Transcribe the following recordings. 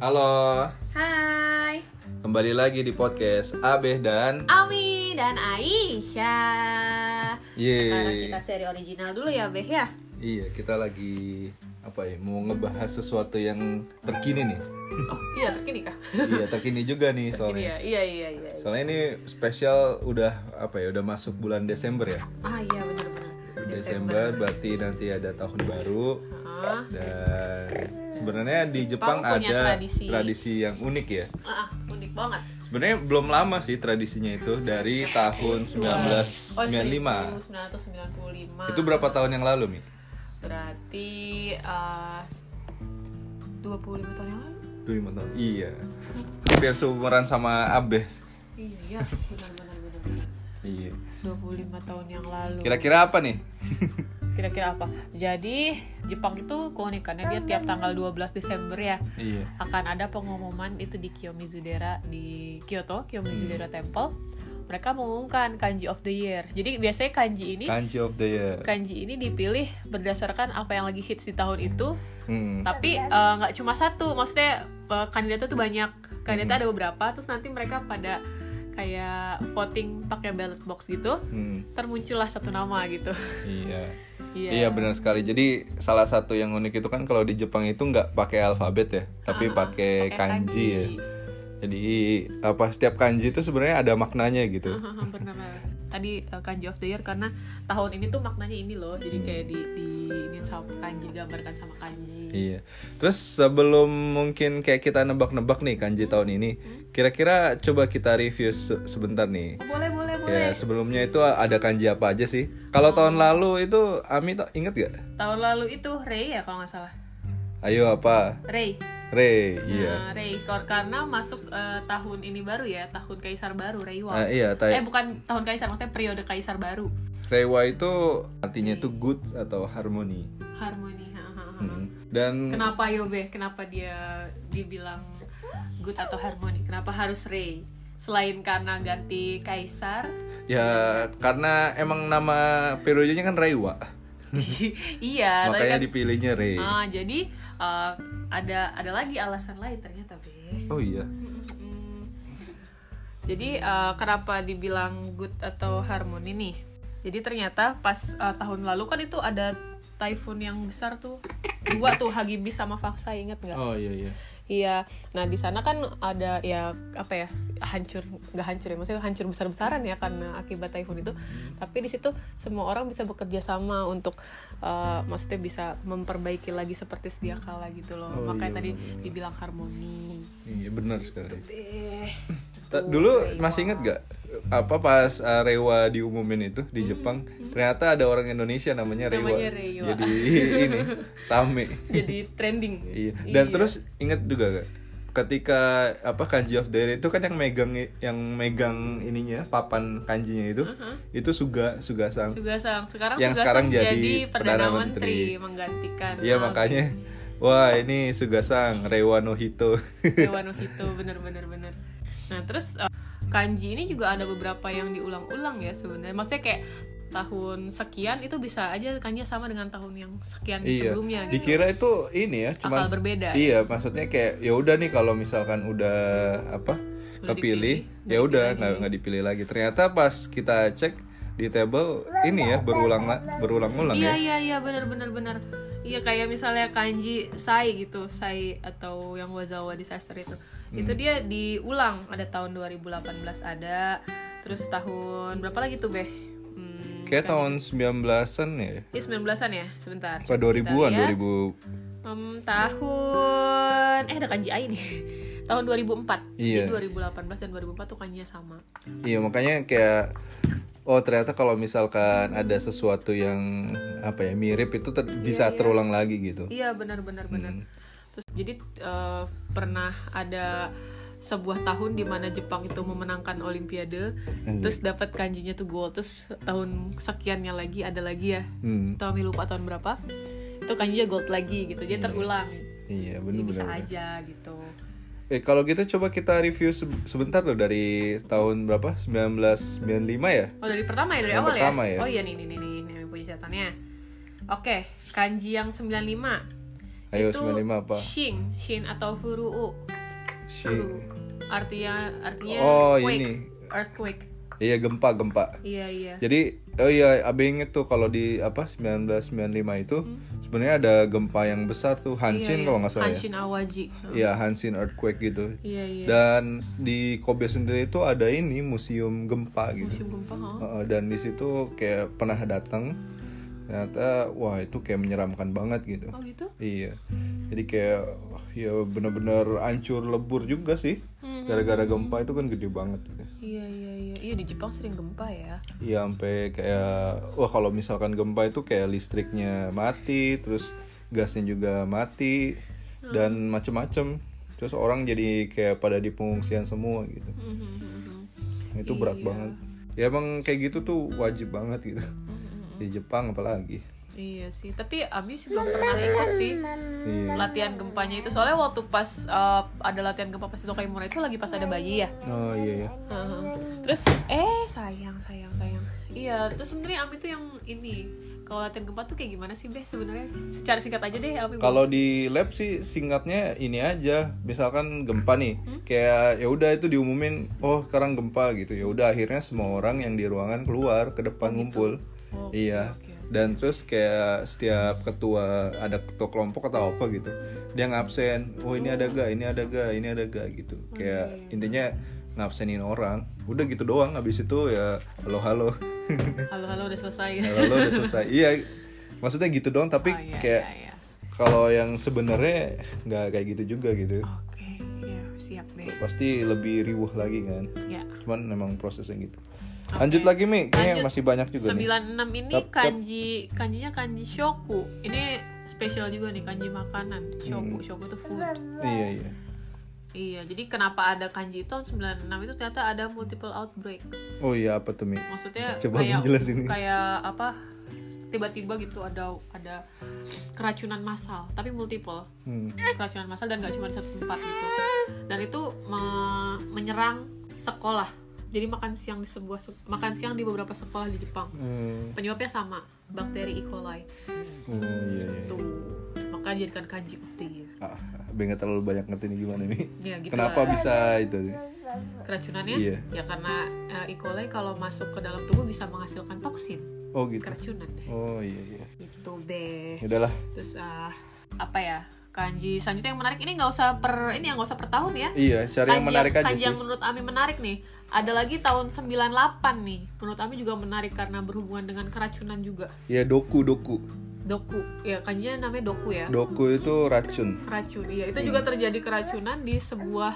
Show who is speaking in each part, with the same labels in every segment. Speaker 1: Halo,
Speaker 2: Hai,
Speaker 1: kembali lagi di podcast Abeh dan
Speaker 2: Ami dan Aisyah. Sekarang
Speaker 1: Ye.
Speaker 2: kita seri original dulu ya, Beh ya.
Speaker 1: Iya, kita lagi apa ya? Mau ngebahas sesuatu yang terkini nih.
Speaker 2: Oh, iya terkini kah?
Speaker 1: iya, terkini juga nih soalnya.
Speaker 2: Iya, iya, iya, iya.
Speaker 1: Soalnya ini spesial udah apa ya? Udah masuk bulan Desember ya.
Speaker 2: Ah, iya benar-benar.
Speaker 1: Desember berarti nanti ada tahun baru
Speaker 2: Ah,
Speaker 1: dan sebenarnya di Jepang,
Speaker 2: Jepang punya
Speaker 1: ada
Speaker 2: tradisi.
Speaker 1: tradisi yang unik ya.
Speaker 2: ah, ah, unik banget.
Speaker 1: Sebenarnya belum lama sih tradisinya itu dari tahun
Speaker 2: Oh,
Speaker 1: 1995.
Speaker 2: 1995.
Speaker 1: Itu berapa tahun yang lalu, Mi?
Speaker 2: Berarti eh 25 tahun yang lalu.
Speaker 1: 25 tahun. Iya. Hampir seumuran sama Abes.
Speaker 2: Iya, benar-benar benar.
Speaker 1: Iya.
Speaker 2: 25 tahun yang lalu.
Speaker 1: Kira-kira apa nih?
Speaker 2: Kira-kira apa? Jadi Jepang itu keunikannya dia tiap tanggal 12 Desember ya
Speaker 1: iya.
Speaker 2: akan ada pengumuman itu di Kiyomizu-dera di Kyoto, Kiyomizu-dera Temple. Mereka mengumumkan kanji of the year. Jadi biasanya kanji ini
Speaker 1: Kanji of the year.
Speaker 2: kanji ini dipilih berdasarkan apa yang lagi hits di tahun itu.
Speaker 1: Hmm.
Speaker 2: Tapi eh, nggak cuma satu, maksudnya eh, kandidatnya tuh banyak. Kandidatnya ada beberapa, terus nanti mereka pada kayak voting pakai ballot box gitu.
Speaker 1: Hmm.
Speaker 2: Termuncullah satu nama gitu.
Speaker 1: Iya. Iya benar sekali. Jadi salah satu yang unik itu kan kalau di Jepang itu nggak pakai alfabet ya, tapi
Speaker 2: Ah,
Speaker 1: pakai kanji ya. Jadi apa setiap kanji itu sebenarnya ada maknanya gitu.
Speaker 2: Hahaha, benar benar. Tadi uh, kanji of the year karena tahun ini tuh maknanya ini loh. Jadi kayak di di ini sama kanji gambarkan sama kanji.
Speaker 1: Iya. Terus sebelum mungkin kayak kita nebak-nebak nih kanji tahun ini, kira-kira coba kita review se- sebentar nih.
Speaker 2: Boleh boleh boleh. Oh.
Speaker 1: Ya, sebelumnya itu ada kanji apa aja sih? Kalau tahun lalu itu Ami to- inget gak?
Speaker 2: Tahun lalu itu Rei ya kalau nggak salah.
Speaker 1: Ayo apa?
Speaker 2: Rei.
Speaker 1: Rei, iya.
Speaker 2: Nah, Rei Kor- karena masuk uh, tahun ini baru ya, tahun kaisar baru Reiwa.
Speaker 1: Ah, iya,
Speaker 2: eh
Speaker 1: tai-
Speaker 2: bukan tahun kaisar, maksudnya periode kaisar baru.
Speaker 1: Reiwa itu artinya itu good atau harmoni.
Speaker 2: Harmoni. hahaha.
Speaker 1: Hmm. Dan
Speaker 2: Kenapa Yobe? Kenapa dia dibilang good atau harmoni? Kenapa harus Rei? Selain karena ganti kaisar,
Speaker 1: ya karena emang nama periodenya kan Reiwa,
Speaker 2: iya, tapi
Speaker 1: makanya
Speaker 2: kan-
Speaker 1: dipilihnya Rei.
Speaker 2: Ah, jadi eh, ada ada lagi alasan lain ternyata, Be.
Speaker 1: Oh iya.
Speaker 2: Mm-mm. Jadi eh, kenapa dibilang good atau harmoni nih? Jadi ternyata pas eh, tahun lalu kan itu ada typhoon yang besar tuh. Dua tuh Hagibis sama Faksa inget nggak?
Speaker 1: Oh iya iya.
Speaker 2: Iya. Nah, di sana kan ada ya apa ya? hancur nggak hancur ya maksudnya hancur besar-besaran ya karena akibat typhoon itu. Tapi di situ semua orang bisa bekerja sama untuk eh, maksudnya bisa memperbaiki lagi seperti sedia kala gitu loh.
Speaker 1: Oh, iya,
Speaker 2: Makanya tadi
Speaker 1: benar-benar.
Speaker 2: dibilang harmoni.
Speaker 1: Iya benar
Speaker 2: Gitu
Speaker 1: sekali.
Speaker 2: Eh,
Speaker 1: Ta- dulu masih inget gak apa pas uh, Rewa diumumin itu di Jepang ternyata ada orang Indonesia namanya Rewa,
Speaker 2: Hmm, iya. Namanya Rewa.
Speaker 1: jadi ini Tame
Speaker 2: jadi trending.
Speaker 1: iya dan terus inget juga gak ketika apa kanji of the year itu kan yang megang yang megang ininya papan kanjinya itu
Speaker 2: Uh-huh.
Speaker 1: itu Suga Suga sang
Speaker 2: Sugasang sekarang
Speaker 1: Yang
Speaker 2: Sugasang
Speaker 1: sekarang jadi
Speaker 2: perdana
Speaker 1: Perdana
Speaker 2: menteri,
Speaker 1: Menteri.
Speaker 2: menggantikan eh,
Speaker 1: iya
Speaker 2: Abe
Speaker 1: makanya wah ini Suga sang Rewa no Hito
Speaker 2: Dewa Nohito bener-bener bener. Nah terus eh, kanji ini juga ada beberapa yang diulang-ulang ya sebenarnya. Maksudnya kayak tahun sekian itu bisa aja kanji sama dengan tahun yang sekian
Speaker 1: Iya.
Speaker 2: sebelumnya. gitu.
Speaker 1: Dikira itu ini ya, cuma
Speaker 2: Akal berbeda.
Speaker 1: Iya, maksudnya kayak ya udah nih kalau misalkan udah apa kepilih, ya udah nggak nggak dipilih lagi. Ternyata pas kita cek di table ini ya berulang la- berulang-ulang
Speaker 2: Iya
Speaker 1: ya.
Speaker 2: iya iya bener-bener bener. Iya kayak misalnya kanji sai gitu sai atau yang wazawa disaster itu. Itu
Speaker 1: Hmm.
Speaker 2: dia diulang ada tahun 2018 ada. Terus tahun berapa lagi tuh beh? Hmm,
Speaker 1: Kayak tahun 19-an ya.
Speaker 2: ya 19-an ya sebentar. ya.
Speaker 1: Apa 2000-an,
Speaker 2: Kita lihat.
Speaker 1: 2000.
Speaker 2: Em, tahun eh ada kanji ai nih. tahun 2004.
Speaker 1: Iya.
Speaker 2: Jadi 2018 dan 2004 tuh kanjinya sama.
Speaker 1: Iya, makanya kayak oh ternyata kalau misalkan ada sesuatu yang apa ya mirip itu ter- bisa terulang lagi gitu.
Speaker 2: Iya benar-benar benar. Terus jadi eh, pernah ada sebuah tahun di mana Jepang itu memenangkan Olimpiade, terus dapat kanjinya tuh gold. Terus tahun sekiannya lagi ada lagi ya.
Speaker 1: Hmm,
Speaker 2: Tahu Ami lupa tahun berapa? Itu kanjinya gold lagi gitu. Jadi terulang.
Speaker 1: iya
Speaker 2: Jadi
Speaker 1: benar-benar.
Speaker 2: bisa aja gitu.
Speaker 1: Eh kalau gitu coba kita review se- sebentar loh dari tahun berapa? 1995 ya?
Speaker 2: Oh dari pertama ya dari
Speaker 1: Yang
Speaker 2: awal
Speaker 1: pertama
Speaker 2: ya?
Speaker 1: ya.
Speaker 2: Oh iya nih nih nih nih nih, yang punya catatannya. Oke, kanji yang 95.
Speaker 1: Ayo
Speaker 2: itu
Speaker 1: 95 apa?
Speaker 2: Shin, Shin atau Furu'u.
Speaker 1: Shi-
Speaker 2: Artinya artinya
Speaker 1: Oh,
Speaker 2: quake.
Speaker 1: ini.
Speaker 2: earthquake.
Speaker 1: Iya gempa gempa.
Speaker 2: Iya iya.
Speaker 1: Jadi oh iya abe inget tuh kalau di apa 1995 itu sebenarnya ada gempa yang besar tuh Hanshin
Speaker 2: Hmm. Iya, iya.
Speaker 1: kalau nggak salah ya.
Speaker 2: Hanshin Awaji.
Speaker 1: Iya Hanshin earthquake gitu.
Speaker 2: Iya iya.
Speaker 1: Dan s- di Kobe sendiri itu ada ini museum gempa gitu.
Speaker 2: Musim gempa. ha?
Speaker 1: Heeh, dan di situ kayak pernah datang ternyata wah itu kayak menyeramkan banget gitu.
Speaker 2: Oh gitu.
Speaker 1: Iya. Jadi kayak ya bener-bener hancur lebur juga sih. Gara-gara gempa itu kan gede banget.
Speaker 2: Iya iya iya. Iya di Jepang sering gempa ya.
Speaker 1: Iya sampai kayak wah kalau misalkan gempa itu kayak listriknya mati, terus gasnya juga mati dan macem-macem. Terus orang jadi kayak pada di pengungsian semua gitu.
Speaker 2: Mhm,
Speaker 1: Itu berat banget. Ya emang kayak gitu tuh wajib banget gitu. Di Jepang apalagi.
Speaker 2: Iya sih, tapi Abi sih belum pernah ikut sih
Speaker 1: Iya.
Speaker 2: latihan gempanya itu. Soalnya waktu pas eh, ada latihan gempa pas di Tokaimura itu lagi pas ada bayi ya.
Speaker 1: Oh iya ya.
Speaker 2: Heeh. Terus eh sayang sayang sayang. Iya, terus sebenarnya Abi tuh yang ini kalau latihan gempa tuh kayak gimana sih Beh sebenarnya? Secara singkat aja deh Abi.
Speaker 1: Kalau di lab sih singkatnya ini aja, misalkan gempa nih,
Speaker 2: Hmm?
Speaker 1: kayak ya udah itu diumumin, oh sekarang gempa gitu, ya udah akhirnya semua orang yang di ruangan keluar ke depan ngumpul,
Speaker 2: Oh, oke,
Speaker 1: iya.
Speaker 2: oke.
Speaker 1: Dan terus kayak setiap ketua ada ketua kelompok atau apa gitu, dia ngabsen, oh ini ada ga, ini ada ga, ini ada ga gitu,
Speaker 2: Oh,
Speaker 1: kayak
Speaker 2: iya,
Speaker 1: intinya ngabsenin orang, udah gitu doang, habis itu ya halo halo,
Speaker 2: Halo halo udah selesai.
Speaker 1: halo halo udah selesai, iya, maksudnya gitu doang, tapi
Speaker 2: Oh, iya,
Speaker 1: kayak
Speaker 2: iya, iya.
Speaker 1: kalau yang sebenarnya nggak kayak gitu juga gitu
Speaker 2: Oke, iya siap Beh.
Speaker 1: pasti lebih riuh lagi kan
Speaker 2: Ya.
Speaker 1: cuman memang prosesnya gitu lanjut lagi Mi kayaknya
Speaker 2: Lanjut.
Speaker 1: masih banyak juga nih
Speaker 2: 96 ini
Speaker 1: Tap, tap.
Speaker 2: kanji kanjinya kanji shoku. Ini spesial juga nih kanji
Speaker 1: Hmm.
Speaker 2: makanan. Shoku, shoku itu food.
Speaker 1: iya iya
Speaker 2: Iya, jadi kenapa ada kanji itu tahun 96 itu ternyata ada multiple outbreak.
Speaker 1: oh iya apa tuh Mi
Speaker 2: Maksudnya
Speaker 1: Coba
Speaker 2: kayak
Speaker 1: menjelas ini.
Speaker 2: kayak apa? Tiba-tiba gitu ada ada keracunan massal, tapi multiple
Speaker 1: hmm.
Speaker 2: keracunan massal dan gak cuma di satu tempat gitu. Dan itu me- menyerang sekolah. Jadi makan siang di sebuah se- makan siang di beberapa sekolah di Jepang.
Speaker 1: Hmm.
Speaker 2: Penyebabnya sama, bakteri E. coli.
Speaker 1: Hmm, iya iya
Speaker 2: Tuh, maka dijadikan kanji putih.
Speaker 1: ah Abe nggak terlalu banyak ngerti nih gimana Mi
Speaker 2: Ya gitu.
Speaker 1: kenapa
Speaker 2: lah.
Speaker 1: bisa itu
Speaker 2: Keracunannya?
Speaker 1: Iya.
Speaker 2: Ya karena eh, E. coli kalau masuk ke dalam tubuh bisa menghasilkan toksin,
Speaker 1: oh gitu
Speaker 2: keracunan.
Speaker 1: oh iya iya
Speaker 2: Gitu deh.
Speaker 1: Ya udahlah
Speaker 2: Terus ah, apa ya? Kanji selanjutnya yang menarik ini nggak usah per ini yang nggak usah per tahun ya.
Speaker 1: iya cari yang menarik aja
Speaker 2: kanji
Speaker 1: sih
Speaker 2: yang menurut Ami menarik nih. Ada lagi tahun 98 nih. Menurut Ami juga menarik karena berhubungan dengan keracunan juga.
Speaker 1: ya doku doku
Speaker 2: Doku. Ya kanjinya namanya doku ya.
Speaker 1: doku itu racun
Speaker 2: Keracun. Iya, itu juga terjadi keracunan di sebuah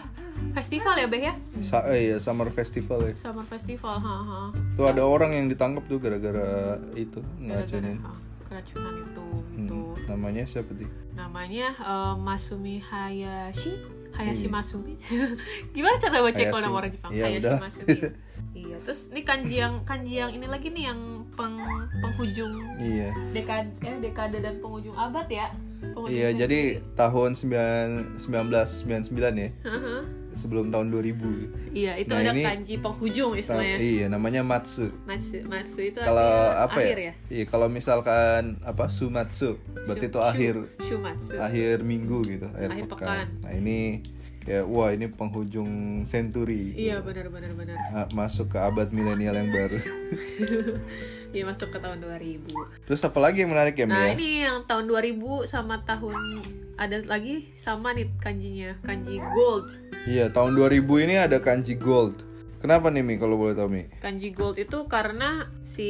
Speaker 2: festival ya, Beh ya?
Speaker 1: Sa eh, iya, summer festival ya
Speaker 2: Summer festival, ha ha.
Speaker 1: tuh ada orang yang ditangkap tuh gara-gara itu ngeracunin Hmm.
Speaker 2: Ah, Keracunan itu itu
Speaker 1: namanya siapa sih
Speaker 2: namanya eh, Masumi Hayashi. Hayashi Masumi. Gimana cara baca kalau
Speaker 1: Iya. Hayashi.
Speaker 2: nama orang Jepang?
Speaker 1: Iya,
Speaker 2: Hayashi
Speaker 1: udah.
Speaker 2: Masumi. iya, terus ini kanji yang kanji yang ini lagi nih yang peng, penghujung
Speaker 1: iya
Speaker 2: dekade eh, dekade dan penghujung abad ya. Penghujung
Speaker 1: iya
Speaker 2: dekade.
Speaker 1: jadi tahun 9 1999 ya
Speaker 2: Haha.
Speaker 1: sebelum tahun 2000
Speaker 2: Uh-huh. Iya, itu
Speaker 1: Nah,
Speaker 2: ada
Speaker 1: ini-
Speaker 2: kanji penghujung
Speaker 1: Ta-
Speaker 2: istilahnya.
Speaker 1: iya namanya matsu
Speaker 2: Matsu, matsu itu
Speaker 1: kalau
Speaker 2: artinya
Speaker 1: apa
Speaker 2: akhir
Speaker 1: ya, iya kalau misalkan apa sumatsu berarti
Speaker 2: Shu-
Speaker 1: itu akhir
Speaker 2: shu- Shumatsu.
Speaker 1: akhir minggu gitu akhir,
Speaker 2: Akhir
Speaker 1: pekan.
Speaker 2: pekan.
Speaker 1: nah ini kayak wah ini penghujung century
Speaker 2: Iya
Speaker 1: gitu.
Speaker 2: benar benar benar.
Speaker 1: Ah, masuk ke abad milenial yang baru
Speaker 2: Iya masuk ke tahun 2000.
Speaker 1: terus apa lagi yang menarik ya Mi,
Speaker 2: Nah,
Speaker 1: ya?
Speaker 2: ini yang tahun 2000 sama tahun ada lagi sama nih kanjinya, kanji gold.
Speaker 1: Iya, tahun 2000 ini ada kanji gold. Kenapa nih Mi kalau boleh tahu Mi?
Speaker 2: Kanji gold itu karena si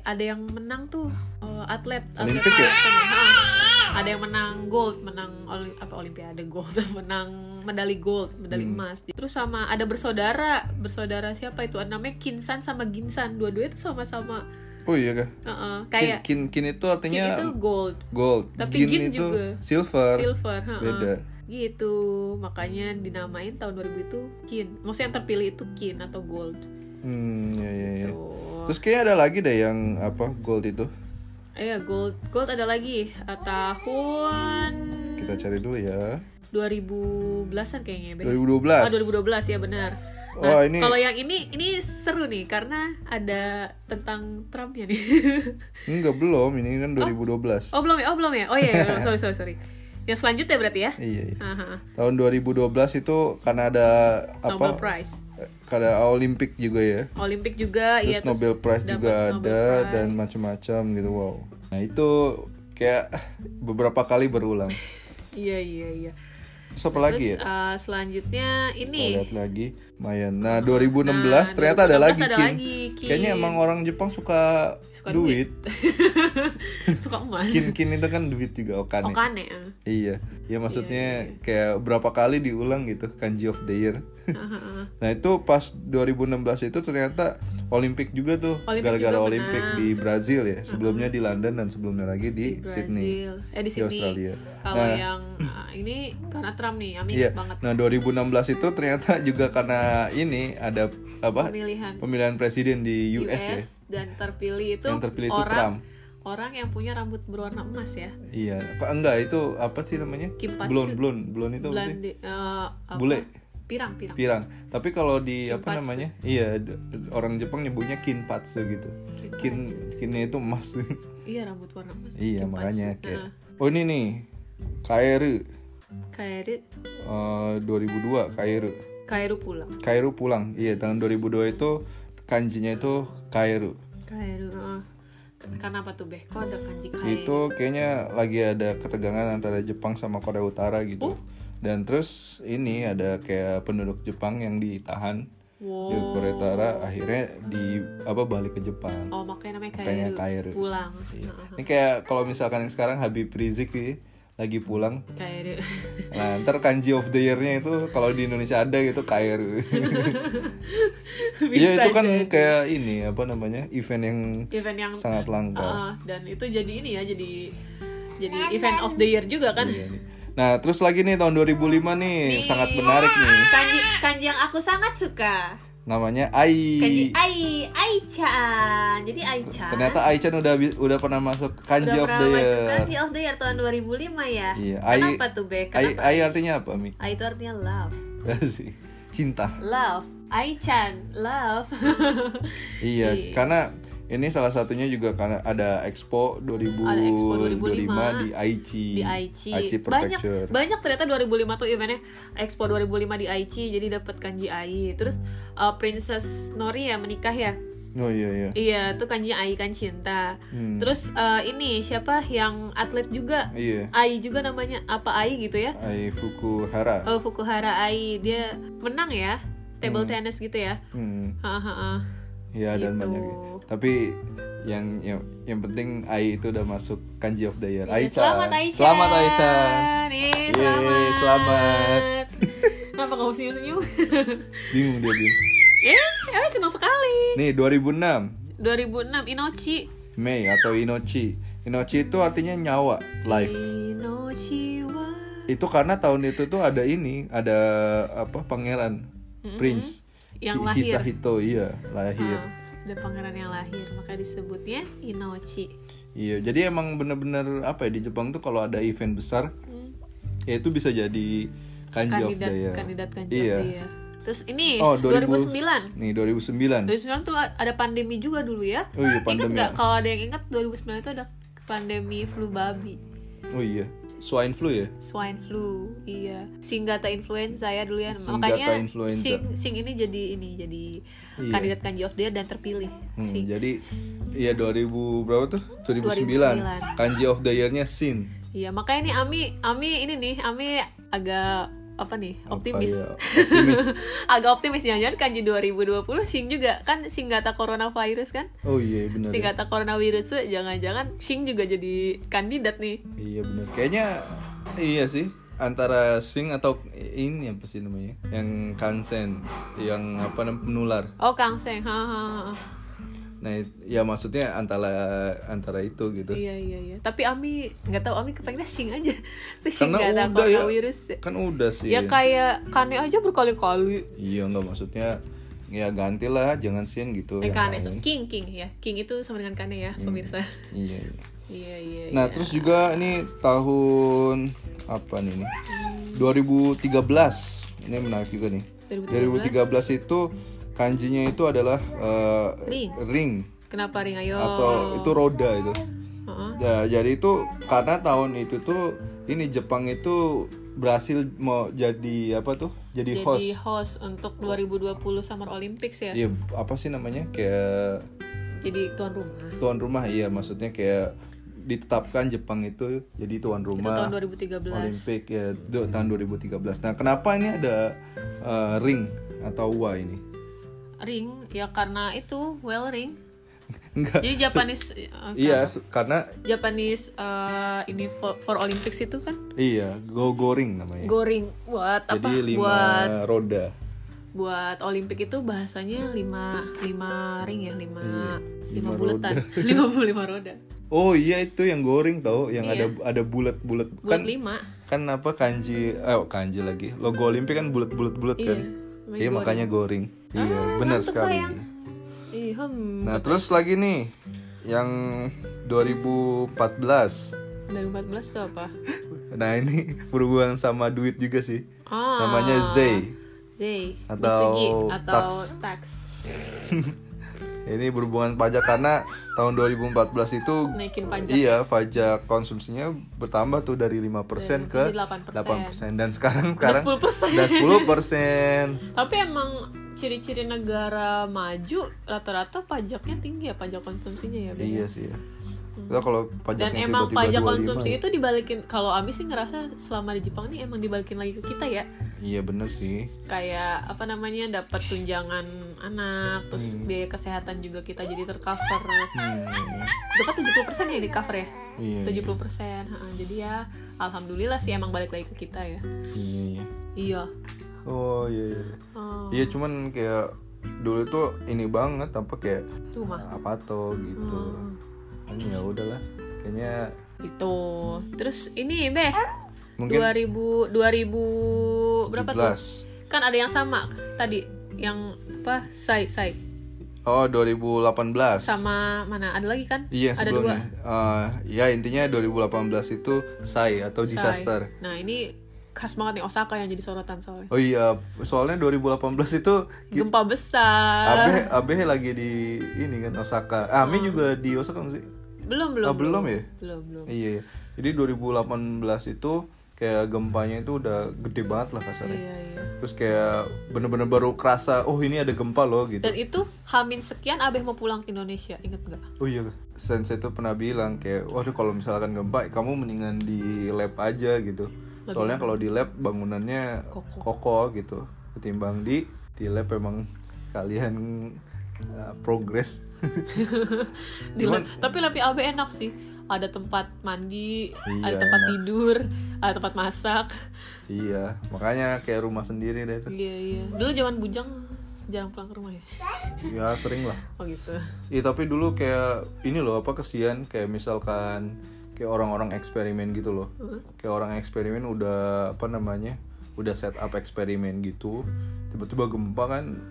Speaker 2: ada yang menang tuh eh, atlet atlet
Speaker 1: Olimpik ya?
Speaker 2: maraton. Nah, ada yang menang gold, menang oli- apa olimpiade gold, menang medali gold, medali
Speaker 1: Hmm.
Speaker 2: emas. Terus sama ada bersaudara, bersaudara siapa itu? Namanya Kinsan sama Ginsan. Dua-duanya tuh sama-sama
Speaker 1: Oh iya kah?
Speaker 2: eh, eh,
Speaker 1: Kin,
Speaker 2: kayak
Speaker 1: kin, kin itu
Speaker 2: Kin
Speaker 1: artinya
Speaker 2: itu gold.
Speaker 1: gold.
Speaker 2: Tapi gin
Speaker 1: itu
Speaker 2: juga.
Speaker 1: silver.
Speaker 2: silver ha-ha.
Speaker 1: Beda.
Speaker 2: gitu makanya dinamain tahun 2000 itu kin maksudnya yang terpilih itu kin atau gold
Speaker 1: Hmm, iya iya iya.
Speaker 2: tuh
Speaker 1: Terus kayaknya ada lagi deh yang apa gold itu.
Speaker 2: iya gold gold ada lagi Eh, tahun
Speaker 1: Kita cari dulu ya.
Speaker 2: 2010-an kayaknya Beh.
Speaker 1: 2012.
Speaker 2: ah 2012 ya benar
Speaker 1: Wah, ini-
Speaker 2: nah, kalau yang ini ini seru nih karena ada tentang Trump ya nih
Speaker 1: Enggak belum, ini kan 2012.
Speaker 2: oh belum ya oh belum ya oh iya iya, sorry sorry sorry Yang selanjutnya berarti ya?
Speaker 1: Iya, iya.
Speaker 2: Aha.
Speaker 1: Tahun 2012 itu karena ada
Speaker 2: Nobel
Speaker 1: apa?
Speaker 2: Prize.
Speaker 1: Karena Olimpik juga ya.
Speaker 2: Olimpik juga
Speaker 1: Terus
Speaker 2: iya
Speaker 1: Nobel Prize
Speaker 2: dapat
Speaker 1: juga
Speaker 2: Nobel
Speaker 1: ada
Speaker 2: Prize.
Speaker 1: dan macam-macam gitu. Wow. Nah, itu kayak beberapa kali berulang.
Speaker 2: Iya iya iya.
Speaker 1: Terus apa lagi ya?
Speaker 2: Terus eh, selanjutnya ini
Speaker 1: Kita lihat lagi lumayan. Nah, 2016
Speaker 2: Nah,
Speaker 1: ternyata ada
Speaker 2: 2016
Speaker 1: lagi,
Speaker 2: ada
Speaker 1: Kin.
Speaker 2: lagi, Kin.
Speaker 1: Kayaknya emang orang Jepang suka,
Speaker 2: Suka
Speaker 1: duit.
Speaker 2: suka emas.
Speaker 1: Kin Kin itu kan duit juga okane.
Speaker 2: Okane. eh.
Speaker 1: Iya. Ya maksudnya kayak berapa kali diulang gitu kanji of the year.
Speaker 2: Aha, aha.
Speaker 1: nah, itu pas 2016 itu ternyata Olimpik juga tuh
Speaker 2: Olimpik
Speaker 1: gara-gara
Speaker 2: juga
Speaker 1: Olimpik
Speaker 2: menang.
Speaker 1: di Brazil ya. Sebelumnya di London dan sebelumnya lagi di, Sydney.
Speaker 2: Brazil. Eh di
Speaker 1: Di
Speaker 2: sini.
Speaker 1: Australia.
Speaker 2: Kalau
Speaker 1: Nah.
Speaker 2: yang eh, ini karena Trump nih, Ami
Speaker 1: Iya.
Speaker 2: ingat banget
Speaker 1: Nah, 2016 itu ternyata juga karena ini ada apa?
Speaker 2: pemilihan
Speaker 1: Pemilihan presiden di
Speaker 2: US,
Speaker 1: US, ya.
Speaker 2: dan terpilih itu
Speaker 1: Yang terpilih itu Trump.
Speaker 2: orang orang yang punya rambut berwarna emas ya.
Speaker 1: Iya. Apa enggak itu apa sih namanya?
Speaker 2: Kimpacu.
Speaker 1: Blonde, blonde, blonde itu apa sih?
Speaker 2: Belanda eh, apa?
Speaker 1: Bule.
Speaker 2: Pirang, pirang.
Speaker 1: Pirang. Tapi kalau di apa
Speaker 2: Kinpatsu.
Speaker 1: namanya? Iya, d- orang Jepang nyebutnya kinpatsu gitu. Kin kinnya itu emas.
Speaker 2: Iya, rambut warna emas.
Speaker 1: iya,
Speaker 2: Kimpacu.
Speaker 1: makanya kayak.
Speaker 2: Nah,
Speaker 1: Oh, ini nih. Kairu
Speaker 2: Kairi-
Speaker 1: eh, 2002 Kairu.
Speaker 2: Kairu pulang.
Speaker 1: Kairu pulang. Iya, tahun 2002 itu kanjinya itu Kairu.
Speaker 2: Kairu. eh. Karena apa tuh beh? Kok ada kanji Kairu?
Speaker 1: itu kayaknya lagi ada ketegangan antara Jepang sama Korea Utara gitu. Dan terus ini ada kayak penduduk Jepang yang ditahan
Speaker 2: Wow.
Speaker 1: di Korea Utara akhirnya di apa balik ke Jepang.
Speaker 2: Oh, makanya namanya
Speaker 1: Makanya
Speaker 2: Kairu.
Speaker 1: Kairu.
Speaker 2: Pulang.
Speaker 1: Iya.
Speaker 2: Nah,
Speaker 1: Ini kayak kalau misalkan yang sekarang Habib Rizik sih lagi pulang.
Speaker 2: Kairu.
Speaker 1: Nah, ntar kanji of the year-nya itu kalau di Indonesia ada gitu KRU. Iya,
Speaker 2: Bisa
Speaker 1: itu kan
Speaker 2: jadi.
Speaker 1: kayak ini apa namanya? event yang
Speaker 2: event yang
Speaker 1: sangat langka.
Speaker 2: Ah, dan itu jadi ini ya, jadi jadi event of the year juga kan.
Speaker 1: Iya nih. Nah, terus lagi nih tahun 2005 nih,
Speaker 2: Nih.
Speaker 1: sangat menarik nih.
Speaker 2: Kanji kanji yang aku sangat suka.
Speaker 1: Namanya Ai.
Speaker 2: Kanji Ai Aichan. Jadi Aichan.
Speaker 1: Ternyata Aichan udah bi- udah pernah masuk kanji
Speaker 2: udah
Speaker 1: of
Speaker 2: pernah
Speaker 1: the
Speaker 2: masuk
Speaker 1: year.
Speaker 2: Kanji of the year tahun 2005 ya.
Speaker 1: Iya, Ai-
Speaker 2: Kenapa tuh, Be?
Speaker 1: Ai,
Speaker 2: Kenapa?
Speaker 1: Ai artinya apa, Mi?
Speaker 2: Ai itu artinya love.
Speaker 1: Asik. Cinta.
Speaker 2: Love. Aichan, love.
Speaker 1: Iya,
Speaker 2: Iya.
Speaker 1: karena ini salah satunya juga karena ada Expo 2000
Speaker 2: Ada Expo 2005
Speaker 1: di Aichi.
Speaker 2: di Aichi.
Speaker 1: Hmm, Aichi
Speaker 2: banyak
Speaker 1: Prefecture. Hmm.
Speaker 2: banyak ternyata 2005 tuh eventnya Expo 2005 di Aichi jadi dapat kanji Ai. Terus uh, Princess Nori ya menikah ya.
Speaker 1: Oh iya iya.
Speaker 2: Iya, itu kanji Ai kan cinta.
Speaker 1: Hmm.
Speaker 2: Terus uh, ini siapa yang atlet juga?
Speaker 1: Iya.
Speaker 2: Ai juga namanya apa Ai gitu ya?
Speaker 1: Ai Fukuhara.
Speaker 2: Oh, Fukuhara Ai dia menang ya table tennis gitu ya.
Speaker 1: Hmm.
Speaker 2: Hahaha.
Speaker 1: Iya dan
Speaker 2: Gitu.
Speaker 1: banyak. Tapi yang, yang yang penting Ai itu udah masuk kanji of the year.
Speaker 2: Iya,
Speaker 1: Aichan.
Speaker 2: Selamat Aichan.
Speaker 1: Selamat Aichan.
Speaker 2: Yeay,
Speaker 1: Yeay,
Speaker 2: selamat.
Speaker 1: selamat.
Speaker 2: Kenapa kamu senyum-senyum?
Speaker 1: Bingung dia bingung.
Speaker 2: eh, eh senang sekali.
Speaker 1: Nih 2006
Speaker 2: 2006 Inochi.
Speaker 1: Mei atau Inochi. Inochi itu artinya nyawa, life.
Speaker 2: Inochi wa.
Speaker 1: Itu karena tahun itu tuh ada ini, ada apa pangeran prince
Speaker 2: Yang
Speaker 1: Hi-
Speaker 2: lahir.
Speaker 1: Hisahito, iya, lahir.
Speaker 2: Ah, ada pangeran yang lahir, maka disebutnya Inochi.
Speaker 1: Iya, jadi emang bener-bener apa ya di Jepang tuh kalau ada event besar,
Speaker 2: Hmm.
Speaker 1: ya itu bisa jadi kanji of
Speaker 2: Kandidat
Speaker 1: the year.
Speaker 2: kandidat
Speaker 1: Kan
Speaker 2: kanji
Speaker 1: Iya.
Speaker 2: of the year. Terus ini
Speaker 1: Oh, 2009.
Speaker 2: 2009.
Speaker 1: Nih 2009.
Speaker 2: 2009 tuh ada pandemi juga dulu ya.
Speaker 1: Oh iya,
Speaker 2: Ingat
Speaker 1: pandemi.
Speaker 2: nggak kalau ada yang ingat 2009 itu ada pandemi flu babi,
Speaker 1: Oh iya, swine flu ya.
Speaker 2: swine flu, iya. Singgata influenza ya dulu ya.
Speaker 1: Singgata
Speaker 2: Makanya
Speaker 1: influenza.
Speaker 2: sing sing ini jadi ini jadi
Speaker 1: Iya.
Speaker 2: kandidat kanji of the year dan terpilih.
Speaker 1: Hmm,
Speaker 2: Sing.
Speaker 1: jadi iya 2000 berapa tuh? 2009.
Speaker 2: 2009.
Speaker 1: Kanji of the year-nya Shin.
Speaker 2: Iya, makanya nih Ami Ami ini nih Ami agak apa nih
Speaker 1: Apa
Speaker 2: optimis
Speaker 1: ya? Optimis.
Speaker 2: agak optimis jangan kanji 2020 sing juga kan singgata coronavirus kan
Speaker 1: Oh iya benar.
Speaker 2: singgata coronavirus tuh jangan-jangan sing juga jadi kandidat nih
Speaker 1: Iya benar. Kayaknya iya sih antara sing atau ini apa sih namanya? Yang kansen, yang apa namanya penular.
Speaker 2: Oh Kang Seng, ha, ha, ha.
Speaker 1: Nah, it- ya maksudnya antara antara itu gitu.
Speaker 2: iya iya iya. Tapi Ami nggak tahu Ami kepengennya Sing aja, tuh Sing
Speaker 1: Karena
Speaker 2: nggak ada
Speaker 1: udah ya.
Speaker 2: coronavirus.
Speaker 1: Kan udah sih.
Speaker 2: Ya kayak Kane aja berkali-kali.
Speaker 1: Iya nggak maksudnya ya gantilah jangan sin gitu.
Speaker 2: Eh
Speaker 1: yang
Speaker 2: Kane,
Speaker 1: lain.
Speaker 2: King King ya, King itu sama dengan Kane ya pemirsa.
Speaker 1: Iya. iya.
Speaker 2: Iya iya.
Speaker 1: Nah,
Speaker 2: iya.
Speaker 1: terus juga ini tahun apa nih? ini? 2013. Ini menarik juga nih.
Speaker 2: 2013.
Speaker 1: 2013 itu kanjinya itu adalah eh,
Speaker 2: Ring. Oh.
Speaker 1: ring.
Speaker 2: Kenapa Ring ayo?
Speaker 1: atau itu roda itu Ya, jadi itu karena tahun itu tuh ini Jepang itu berhasil mau jadi apa tuh? Jadi,
Speaker 2: jadi
Speaker 1: host. Oh.
Speaker 2: host. untuk 2020 Summer Olympics ya.
Speaker 1: Iya, apa sih namanya? Kayak
Speaker 2: Jadi tuan rumah.
Speaker 1: tuan rumah iya maksudnya kayak ditetapkan Jepang itu jadi tuan
Speaker 2: Itu
Speaker 1: rumah
Speaker 2: tahun 2013.
Speaker 1: Olimpik
Speaker 2: Iya.
Speaker 1: ya do- tahun 2013. Nah, kenapa ini ada eh, ring atau wa ini?
Speaker 2: Ring ya karena itu well ring.
Speaker 1: Enggak.
Speaker 2: Jadi Japanese eh,
Speaker 1: Iya, su- karena
Speaker 2: Japanese eh, ini for, for Olympics itu kan
Speaker 1: iya, go ring namanya.
Speaker 2: goring buat
Speaker 1: Iya.
Speaker 2: apa?
Speaker 1: jadi lima
Speaker 2: Buat
Speaker 1: roda.
Speaker 2: buat Olimpik itu bahasanya lima lima ring ya lima lima
Speaker 1: Iya, lima
Speaker 2: buletan lima bu- lima roda
Speaker 1: Oh iya itu yang goring tau, yang
Speaker 2: Iya.
Speaker 1: ada ada bulat-bulat
Speaker 2: buat
Speaker 1: kan
Speaker 2: lima
Speaker 1: kan apa kanji eh oh, kanji lagi logo Olimpik kan bulat-bulat-bulat
Speaker 2: Iya,
Speaker 1: kan.
Speaker 2: namanya
Speaker 1: Iya
Speaker 2: goring.
Speaker 1: makanya goring. Iya, benar
Speaker 2: ngantuk,
Speaker 1: sekali.
Speaker 2: sayang. Ih, hmm,
Speaker 1: Nah, terus lagi nih yang 2014.
Speaker 2: dari 14 tuh apa
Speaker 1: Nah, ini berhubungan sama duit juga sih.
Speaker 2: Ah.
Speaker 1: Namanya Zay.
Speaker 2: Zay
Speaker 1: Atau
Speaker 2: Basugi atau
Speaker 1: tax.
Speaker 2: tax
Speaker 1: Ini berhubungan pajak karena tahun 2014 itu
Speaker 2: naikin pajak ya?
Speaker 1: Iya, pajak konsumsinya bertambah tuh dari 5% ke
Speaker 2: Jadi 8%.
Speaker 1: 8%. Dan sekarang sekarang
Speaker 2: 10%.
Speaker 1: dan 10%.
Speaker 2: tapi emang ciri-ciri negara maju rata-rata pajaknya tinggi ya pajak konsumsinya ya Bang?
Speaker 1: Iya sih ya. Kita kalau
Speaker 2: dan
Speaker 1: pajaknya
Speaker 2: emang
Speaker 1: tiba-tiba ya.
Speaker 2: pajak
Speaker 1: 25
Speaker 2: konsumsi itu dibalikin kalau Ami sih ngerasa selama di Jepang nih emang dibalikin lagi ke kita ya
Speaker 1: Iya bener sih.
Speaker 2: kayak apa namanya dapat tunjangan anak terus biaya kesehatan juga kita jadi tercover
Speaker 1: Hmm,
Speaker 2: dapat 70% ya di cover ya
Speaker 1: Iya,
Speaker 2: 70% heeh. jadi ya alhamdulillah sih emang balik lagi ke kita ya
Speaker 1: Iya iya.
Speaker 2: iya
Speaker 1: Oh iya iya.
Speaker 2: Oh,
Speaker 1: Iya cuman kayak dulu tuh ini banget apa kayak
Speaker 2: rumah
Speaker 1: apa tuh gitu. Hmm. Ya udahlah. Kayaknya
Speaker 2: itu Gitu. terus ini beh
Speaker 1: mungkin
Speaker 2: 2000 2000 berapa tuh
Speaker 1: 17.
Speaker 2: kan ada yang sama tadi yang apa sai sai
Speaker 1: Oh 2018.
Speaker 2: sama mana ada lagi kan
Speaker 1: Iya yang
Speaker 2: ada dua
Speaker 1: sebelumnya. Eh, ya intinya 2018 itu SAI atau
Speaker 2: Sai.
Speaker 1: disaster.
Speaker 2: nah ini khas banget nih Osaka yang jadi sorotan soalnya
Speaker 1: Oh iya, soalnya 2018 itu
Speaker 2: gempa besar
Speaker 1: Abe Abe lagi di ini kan Osaka. Ami juga di Osaka nggak sih?
Speaker 2: belum Ah. belum
Speaker 1: Ah, belum ya?
Speaker 2: belum belum
Speaker 1: Iya. Jadi 2018 itu kayak gempanya itu udah gede banget lah kasarnya.
Speaker 2: iya iya
Speaker 1: Terus kayak bener-bener baru kerasa, oh ini ada gempa loh gitu.
Speaker 2: dan itu hamin sekian abeh mau pulang ke Indonesia inget nggak
Speaker 1: Oh iya, Sensei itu pernah bilang kayak, waduh kalau misalkan gempa, kamu mendingan di lab aja gitu. Soalnya kalau di lab bangunannya kokoh gitu, ketimbang di di lab emang kalian uh, progres.
Speaker 2: Di lab- tapi lebih AB enak sih ada tempat mandi ada
Speaker 1: Iya,
Speaker 2: tempat
Speaker 1: enak.
Speaker 2: tidur ada tempat masak
Speaker 1: iya, makanya kayak rumah sendiri deh itu.
Speaker 2: iya iya dulu zaman bujang jarang pulang ke rumah ya
Speaker 1: Ya sering lah.
Speaker 2: oh gitu
Speaker 1: Iya tapi dulu kayak ini loh apa kesian kayak misalkan kayak orang-orang eksperimen gitu loh. Kayak orang eksperimen udah apa namanya? Udah set up eksperimen gitu. Tiba-tiba gempa kan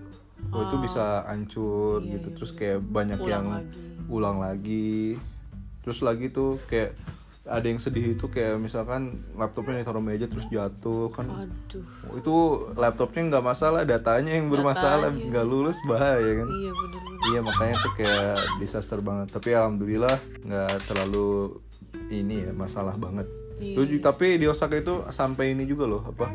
Speaker 1: oh, itu bisa
Speaker 2: Ah.
Speaker 1: hancur gitu. Terus kayak banyak
Speaker 2: Iya, Ulang
Speaker 1: yang
Speaker 2: lagi.
Speaker 1: ulang lagi. Terus lagi tuh kayak ada yang sedih itu kayak misalkan laptopnya ditaruh meja terus jatuh kan
Speaker 2: aduh
Speaker 1: Oh, itu laptopnya nggak masalah datanya yang bermasalah
Speaker 2: Datanya.
Speaker 1: nggak lulus bahaya kan
Speaker 2: iya bener bener
Speaker 1: Iya makanya tuh kayak disaster banget. Tapi alhamdulillah nggak terlalu ini ya masalah banget.
Speaker 2: Iya,
Speaker 1: Lu ju- tapi di Osaka itu sampai ini juga loh apa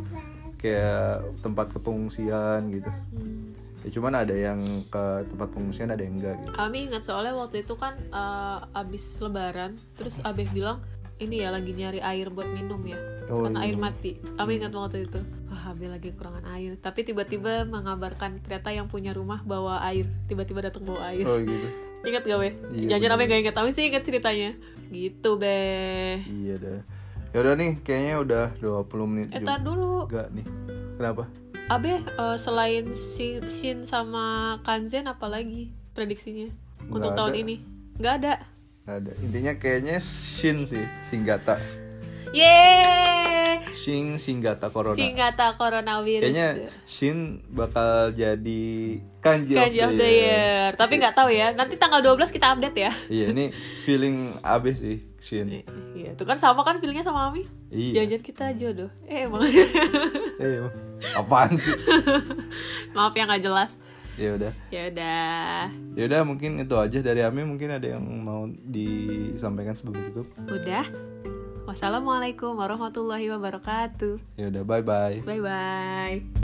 Speaker 1: kayak tempat kepengungsian gitu.
Speaker 2: Hmm.
Speaker 1: Ya cuman ada yang ke tempat pengungsian ada yang enggak gitu.
Speaker 2: Ami ingat soalnya waktu itu kan eh, abis lebaran terus Abeh bilang ini ya lagi nyari air buat minum ya
Speaker 1: Oh,
Speaker 2: karena
Speaker 1: iya.
Speaker 2: air mati Ami ingat waktu itu wah Abeh lagi kekurangan air tapi tiba-tiba mengabarkan ternyata yang punya rumah bawa air tiba-tiba datang bawa air
Speaker 1: Oh gitu.
Speaker 2: ingat gak Beh?
Speaker 1: Iya,
Speaker 2: Jangan-jangan Abeh gak ingat Ami sih ingat ceritanya gitu Beh
Speaker 1: Iya dah. Ya udah nih kayaknya udah 20 menit
Speaker 2: eh tar dulu
Speaker 1: Enggak nih. Kenapa?
Speaker 2: Abeh eh, selain Shin, Shin sama Kan Kanzen apalagi prediksinya untuk
Speaker 1: Nggak
Speaker 2: tahun
Speaker 1: ada.
Speaker 2: ini nggak ada
Speaker 1: Nggak ada. Intinya kayaknya Shin sih, Singgata.
Speaker 2: Yeay
Speaker 1: Shin Singgata Corona.
Speaker 2: Singata coronavirus.
Speaker 1: Kayaknya Shin bakal jadi kanji,
Speaker 2: Kanji of the year. Tapi nggak tahu ya. Nanti tanggal 12 kita update ya.
Speaker 1: Iya, ini feeling abis sih Shin.
Speaker 2: Iya, itu kan sama kan feelingnya sama Ami.
Speaker 1: Iya.
Speaker 2: Jangan-jangan kita jodoh. Eh emang.
Speaker 1: Eh, apaan sih?
Speaker 2: Maaf ya nggak jelas.
Speaker 1: ya udah
Speaker 2: ya udah
Speaker 1: ya udah mungkin itu aja dari Ami mungkin ada yang mau disampaikan sebelum tutup
Speaker 2: udah wassalamualaikum warahmatullahi wabarakatuh
Speaker 1: ya udah bye bye
Speaker 2: bye bye